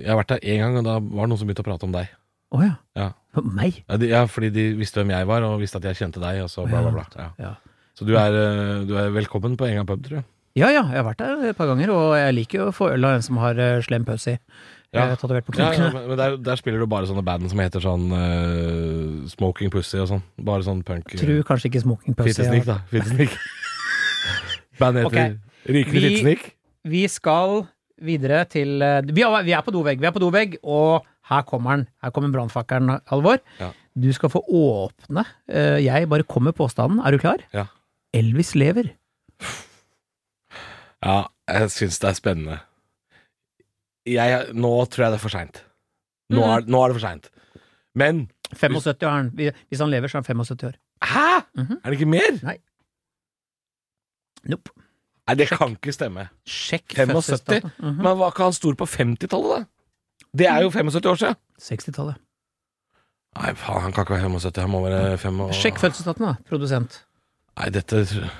Speaker 3: jeg har vært der én gang, og da var det noen som begynte å prate om deg.
Speaker 2: Å ja.
Speaker 3: Ja.
Speaker 2: For meg?
Speaker 3: Ja, de, ja, fordi de visste hvem jeg var, og visste at jeg kjente deg, og så bla, bla, bla. Ja.
Speaker 2: Ja.
Speaker 3: Så du er, eh, du er velkommen på Enga pub, tror jeg.
Speaker 2: Ja ja, jeg har vært der et par ganger, og jeg liker jo å få øl av en som har eh, slem pøs i.
Speaker 3: Ja.
Speaker 2: eh, Tatovert på
Speaker 3: Ja, ja,
Speaker 2: knokene.
Speaker 3: men men der, der spiller du bare sånne band som heter sånn eh, Smoking Pussy og sånn. Bare sånn punk.
Speaker 2: Tror kanskje ikke smoking pøs i.
Speaker 3: Fittesnik, da. Fittesnik. Bandet heter Rykende
Speaker 2: Vi-
Speaker 3: Fittesnik.
Speaker 2: Vi skal videre til eh, Vi er, vi er på dovegg, vi er på dovegg, og her kommer den. Her kommer brannfakkelen, Halvor.
Speaker 3: Ja.
Speaker 2: Du skal få åpne. Eh, Jeg bare kom med påstanden. Er du klar?
Speaker 3: Ja.
Speaker 2: Elvis lever.
Speaker 3: Ja, jeg syns det er spennende. Jeg, nå tror jeg det er for seint. Nå,
Speaker 2: Mhm.
Speaker 3: er- nå er det for seint. Men
Speaker 2: 75 er han. Vi- Hvis han lever, så er han 75 år.
Speaker 3: Hæ?!
Speaker 2: Mhm.
Speaker 3: Er det ikke mer?
Speaker 2: Nope.
Speaker 3: Nei, det kan ikke stemme.
Speaker 2: Sjekk
Speaker 3: 75?
Speaker 2: fødselsdatoen. Mhm.
Speaker 3: Men var ikke han stor på 50-tallet, da? Det er jo 75 år siden.
Speaker 2: 60-tallet.
Speaker 3: Nei, faen, han kan ikke være 75, han må være 5 og...
Speaker 2: Sjekk fødselsdaten, da, produsent.
Speaker 3: Nei, dette tror jeg-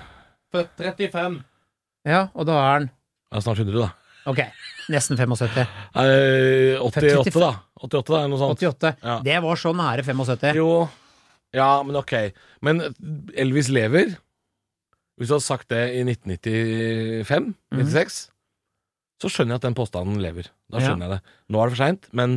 Speaker 4: 35.
Speaker 2: Ja, og da er han
Speaker 3: det er snart 100, da.
Speaker 2: Ok, nesten 75.
Speaker 3: Nei, 88, da. 88, da, eller noe sånt.
Speaker 2: 88.
Speaker 3: Ja.
Speaker 2: Det var så nære 75.
Speaker 3: Jo. Ja, men ok. Men Elvis lever. Hvis du hadde sagt det i 1995, 96, så skjønner jeg at den påstanden lever. Da skjønner jeg det. Nå er det for seint, men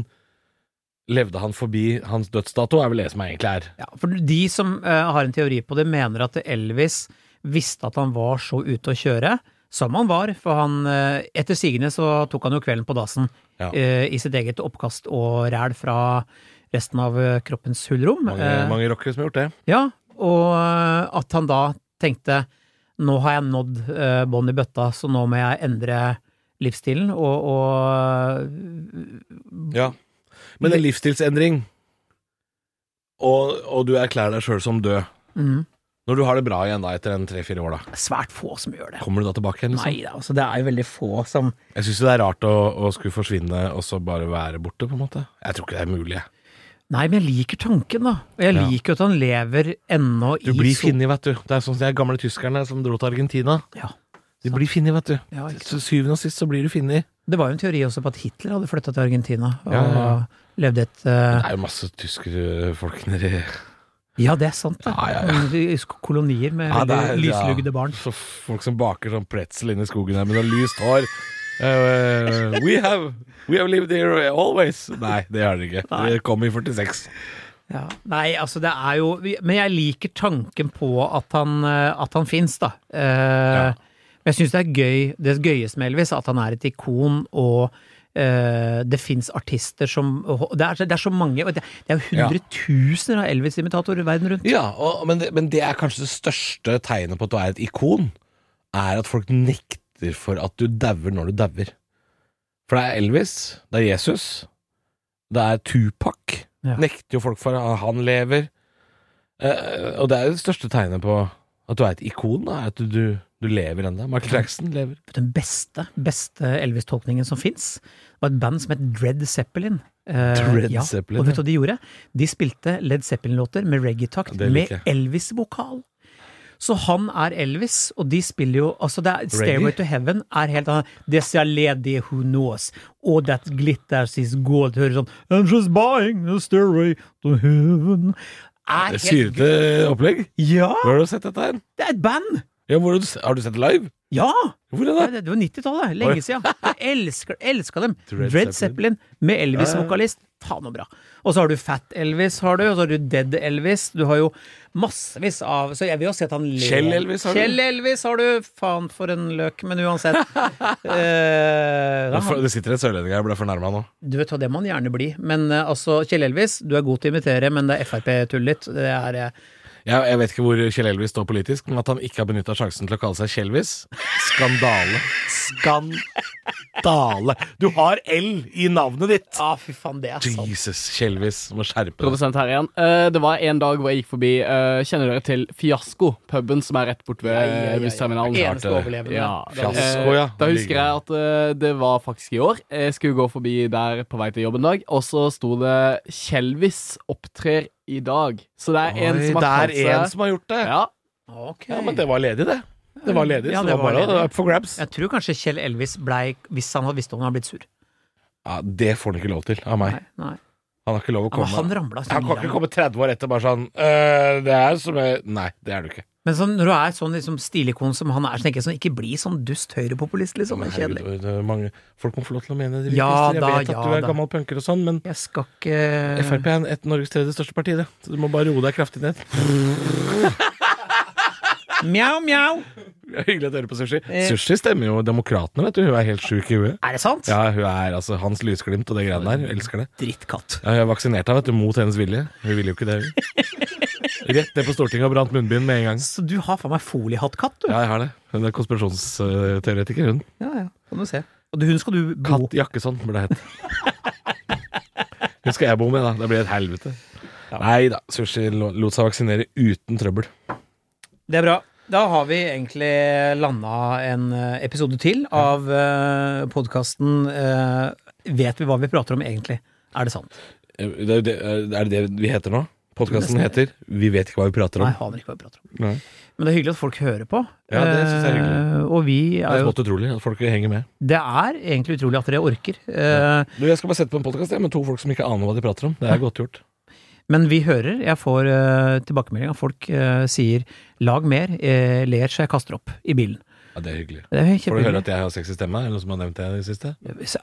Speaker 3: levde han forbi hans dødsdato, er vel det som egentlig er.
Speaker 2: Ja, for de som eh, har en teori på det, mener at Elvis visste at han var så ute å kjøre, som han var, for han eh, etter sigende så tok han jo kvelden på dassen
Speaker 3: Ja.
Speaker 2: eh, i sitt eget oppkast og ræl fra resten av eh, kroppens hullrom.
Speaker 3: Mange,
Speaker 2: Eh,
Speaker 3: mange rockere som har gjort det.
Speaker 2: Ja, og eh, at han da tenkte nå har jeg nådd eh, bånd i bøtta, så nå må jeg endre livsstilen og, og
Speaker 3: Ja. Men en livsstilsendring, og, og du erklærer deg sjøl som død,
Speaker 2: mm,
Speaker 3: når du har det bra igjen da etter en tre-fire år, da,
Speaker 2: Svært få som gjør det.
Speaker 3: kommer du da tilbake igjen? Liksom?
Speaker 2: Nei da, altså det er jo veldig få som
Speaker 3: Jeg syns det er rart å, å skulle forsvinne og så bare være borte, på en måte. Jeg tror ikke det er mulig. jeg.
Speaker 2: Nei, men jeg liker tanken, da. Og jeg
Speaker 3: Ja.
Speaker 2: liker jo at han lever ennå i
Speaker 3: Du blir
Speaker 2: sol-
Speaker 3: funnet, vet du. Det er sånn som de gamle tyskerne som dro til Argentina.
Speaker 2: Ja.
Speaker 3: De blir funnet, vet du.
Speaker 2: Ja, ikke sant.
Speaker 3: Til syvende og sist så blir du funnet.
Speaker 2: Det var jo en teori også på at Hitler hadde flytta til Argentina og
Speaker 3: Ja, ja, ja.
Speaker 2: levde et eh,
Speaker 3: Det er jo masse tyskerfolk nedi
Speaker 2: Ja, det er sant, det.
Speaker 3: Ja, ja, ja.
Speaker 2: I sk- Kolonier med
Speaker 3: Ja, det er-
Speaker 2: veldig lyslugde barn.
Speaker 3: ja. Så Folk som baker sånn pretzel inni skogen her med sånn lyst hår. Eh, we, have, we have lived here always. Nei, det har dere ikke. Dere kom i 46.
Speaker 2: Ja. Nei, altså det er jo Men jeg liker tanken på at han, eh, at han fins, da. Eh,
Speaker 3: Ja.
Speaker 2: Men jeg syns det er gøy, det gøyeste med Elvis, er at han er et ikon, og eh, det fins artister som og det er, så- det er så mange, og det, det er jo
Speaker 3: Ja.
Speaker 2: hundretusener av Elvis-imitatorer verden rundt.
Speaker 3: Ja, og, men, det, men det er kanskje det største tegnet på at du er et ikon, er at folk nekter for at du dauer når du dauer. For det er Elvis, det er Jesus, det er Tupac.
Speaker 2: Ja.
Speaker 3: Nekter jo folk for at han lever. Eh, og det er det største tegnet på at du er et ikon, da, er at du, du, du lever ennå. Michael Jackson lever.
Speaker 2: Den beste, beste Elvis-tolkningen som fins, var et band som het Dread Zeppelin. Eh,
Speaker 3: Dread
Speaker 2: ja,
Speaker 3: Zeppelin,
Speaker 2: Og vet du
Speaker 3: ja.
Speaker 2: hva de gjorde? De spilte Led Zeppelin-låter med reggae-takt,
Speaker 3: Ja, det
Speaker 2: med
Speaker 3: liker jeg.
Speaker 2: Elvis-vokal. Så han er Elvis, og de spiller jo altså det er, Stairway to Heaven er helt annet. This are lady who knows, og that glitters is gold. Hører sånn I'm just buying the stairway to heaven. Er
Speaker 3: Det er
Speaker 2: helt,
Speaker 3: Syrete opplegg.
Speaker 2: ja!
Speaker 3: Hvor har du sett dette her?
Speaker 2: Det er et band!
Speaker 3: Ja, hvor har, du, har du sett det live?
Speaker 2: Ja!
Speaker 3: Hvor er
Speaker 2: Ja,
Speaker 3: det?
Speaker 2: det, det var 90-tallet,
Speaker 3: Oi.
Speaker 2: lenge siden. Jeg elsker, elsker dem.
Speaker 3: Dread
Speaker 2: Dread
Speaker 3: Zeppelin.
Speaker 2: Zeppelin med Elvis-vokalist. Faen og bra. Og så har du Fat Elvis, har du, og så har du Dead Elvis. Du har jo massevis av Så jeg vil jo si at han ler.
Speaker 3: Kjell Elvis har du.
Speaker 2: Kjell Elvis har du. Faen for en løk, men uansett. Eh, da,
Speaker 3: Det sitter en sørlending her og ble fornærma nå.
Speaker 2: du vet hva, det må han gjerne bli. Men eh, altså, Kjell Elvis, du er god til å imitere, men det er Frp-tull litt. Det er eh,
Speaker 3: Jeg, jeg vet ikke hvor Kjell Elvis står politisk, men at han ikke har benytta sjansen til å kalle seg Kjelvis Skandale. Skandale. Du har L i navnet ditt!
Speaker 2: Ja, ah, fy faen, det er sånn. sant.
Speaker 3: Jesus, Kjelvis. Du må skjerpe deg.
Speaker 4: Produsent her igjen. Eh, det var en dag hvor jeg gikk forbi eh, Kjenner dere til Fiasko? Puben som er rett borte ved
Speaker 2: Ja, ja, ja, ja.
Speaker 4: eh, bussterminalen?
Speaker 3: Ja,
Speaker 2: Eneste
Speaker 3: klart det.
Speaker 2: overlevende.
Speaker 4: Ja. Eh,
Speaker 3: Fiasko, ja.
Speaker 4: Da husker jeg at eh, det var faktisk i år. Jeg skulle gå forbi der på vei til jobb en dag, og så sto det 'Kjelvis opptrer i dag'. Så det er en
Speaker 3: Oi,
Speaker 4: som
Speaker 3: det
Speaker 4: har
Speaker 3: er en
Speaker 4: kalt seg
Speaker 3: som har gjort det. Ja,
Speaker 4: ja,
Speaker 2: Ok.
Speaker 3: men det var ledig, det. Det var ledig,
Speaker 2: Ja,
Speaker 3: så
Speaker 2: det
Speaker 3: det var
Speaker 2: var
Speaker 3: bare
Speaker 2: ledig.
Speaker 3: up for grabs.
Speaker 2: Jeg tror kanskje Kjell Elvis blei Hvis han hadde visst om han hadde blitt sur.
Speaker 3: Ja, det får han ikke lov til av meg.
Speaker 2: Nei, nei.
Speaker 3: Han har ikke lov å
Speaker 2: Ja, men
Speaker 3: komme.
Speaker 2: han ramla
Speaker 3: Han kan
Speaker 2: sånn.
Speaker 3: ikke komme 30 år etter bare sånn «Øh, Det er som jeg Nei, det er du ikke.
Speaker 2: Men sånn, når du er sånn liksom, stilikon som han er, så tenker jeg sånn, ikke bli sånn dust høyrepopulist, liksom. Det er
Speaker 3: Herregud,
Speaker 2: kjedelig.
Speaker 3: det er mange, folk må få lov til å mene det.
Speaker 2: Ja
Speaker 3: jeg
Speaker 2: da,
Speaker 3: vet at
Speaker 2: ja
Speaker 3: du er
Speaker 2: da.
Speaker 3: gammel punker og sånn, men
Speaker 2: Jeg skal ikke
Speaker 3: Frp er en- et Norges tredje største parti, det. Så du må bare roe deg kraftig ned.
Speaker 2: Mjau, mjau!
Speaker 3: Hyggelig at dere på sushi.
Speaker 2: Eh.
Speaker 3: Sushi stemmer jo demokratene, vet du. Hun er helt sjuk i huet.
Speaker 2: Er det sant?
Speaker 3: Ja, hun er altså Hans Lysglimt og det greiene der. Hun elsker det.
Speaker 2: Drittkatt.
Speaker 3: Ja, jeg vaksinerte henne, vet du, mot hennes vilje. Hun ville jo ikke det, hun. Rett ned på Stortinget og brant munnbind med en gang.
Speaker 2: Så du har faen meg foliehattkatt, du.
Speaker 3: Ja, jeg har det. Hun er konspirasjonsteoretiker, hun.
Speaker 2: Ja, ja. Kan du se. Og du- hun skal du bo
Speaker 3: Katt Jakkesson burde det hett. Hun skal jeg bo med, da. Det blir et helvete. Nei da. Sushi lo- lot seg vaksinere uten trøbbel.
Speaker 2: Det er bra. Da har vi egentlig landa en eh, episode til eh, av uh, podkasten Vet vi hva vi prater om egentlig? Er det sant?
Speaker 3: Eh, Det er, jo det, eh, er det det vi heter nå? Podkasten heter Vi vet ikke hva vi prater
Speaker 2: Nei,
Speaker 3: om.
Speaker 2: jeg aner ikke hva vi prater om.
Speaker 3: Nei.
Speaker 2: Men det er hyggelig at folk hører på.
Speaker 3: Ja, det synes jeg er hyggelig.
Speaker 2: Eh, Og vi
Speaker 3: Det
Speaker 2: er
Speaker 3: er
Speaker 2: jo
Speaker 3: smått utrolig at folk henger med.
Speaker 2: Det er egentlig utrolig at dere orker. Eh,
Speaker 3: Du, Jeg skal bare sette på en podkast med to folk som ikke aner hva de prater om. Det er godt gjort.
Speaker 2: Men vi hører, jeg får eh, tilbakemelding av folk eh, sier 'lag mer', eh, ler så jeg kaster opp i bilen.
Speaker 3: Ja, Det er hyggelig.
Speaker 2: Det er
Speaker 3: Får du høre
Speaker 2: kjempehyggelig.
Speaker 3: at jeg har sexy stemme? Er det noen som har nevnt det i det siste?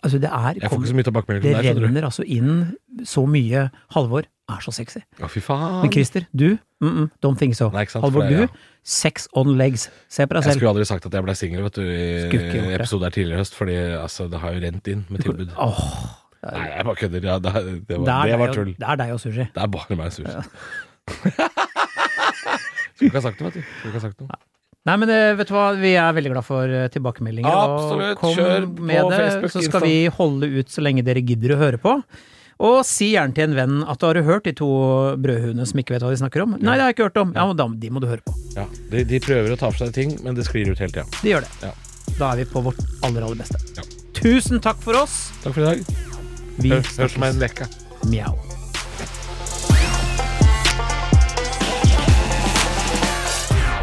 Speaker 2: Altså, det er
Speaker 3: Jeg får ikke så mye
Speaker 2: Det
Speaker 3: tilbakemelding fra deg. skjønner
Speaker 2: renner altså inn så mye. Halvor er så sexy.
Speaker 3: du. Å, fy faen.
Speaker 2: Men Christer, du? Mm -mm, don't think so.
Speaker 3: Nei, ikke sant,
Speaker 2: Halvor,
Speaker 3: for det er
Speaker 2: du? Sex on legs. Se på deg selv.
Speaker 3: Jeg skulle aldri sagt at jeg ble singel vet du,
Speaker 2: Skulle ikke
Speaker 3: i
Speaker 2: gjort det.
Speaker 3: episoden her tidligere i høst, fordi altså, det har jo rent inn med tilbud.
Speaker 2: Åh,
Speaker 3: Nei, jeg bare kødder. Ja, det, det,
Speaker 2: det,
Speaker 3: var,
Speaker 2: er
Speaker 3: det
Speaker 2: deg
Speaker 3: var
Speaker 2: og-
Speaker 3: tull.
Speaker 2: det er deg og sushi.
Speaker 3: Det er bare meg sur. Skulle ikke ha sagt det, vet du. Skulle ikke ha sagt noe.
Speaker 2: Nei, men eh, vet du hva, vi er veldig glad for eh, tilbakemeldinger.
Speaker 3: Absolutt.
Speaker 2: og kom
Speaker 3: Kjør på
Speaker 2: med det,
Speaker 3: Facebook,
Speaker 2: Så
Speaker 3: Insta.
Speaker 2: skal vi holde ut så lenge dere gidder å høre på. Og si gjerne til en venn at du har hørt de to brødhuene som ikke vet hva de snakker om. Nei, det har jeg ikke hørt om. Ja, men da, De må du høre på.
Speaker 3: Ja, de, de prøver å ta for seg ting, men det sklir ut hele tida.
Speaker 2: De gjør det.
Speaker 3: Ja.
Speaker 2: Da er vi på vårt aller, aller beste.
Speaker 3: Ja.
Speaker 2: Tusen takk for oss.
Speaker 3: Takk for i dag.
Speaker 2: Vi
Speaker 3: Hør- Hørs om
Speaker 2: snakkes.
Speaker 3: en uke.
Speaker 2: Mjau.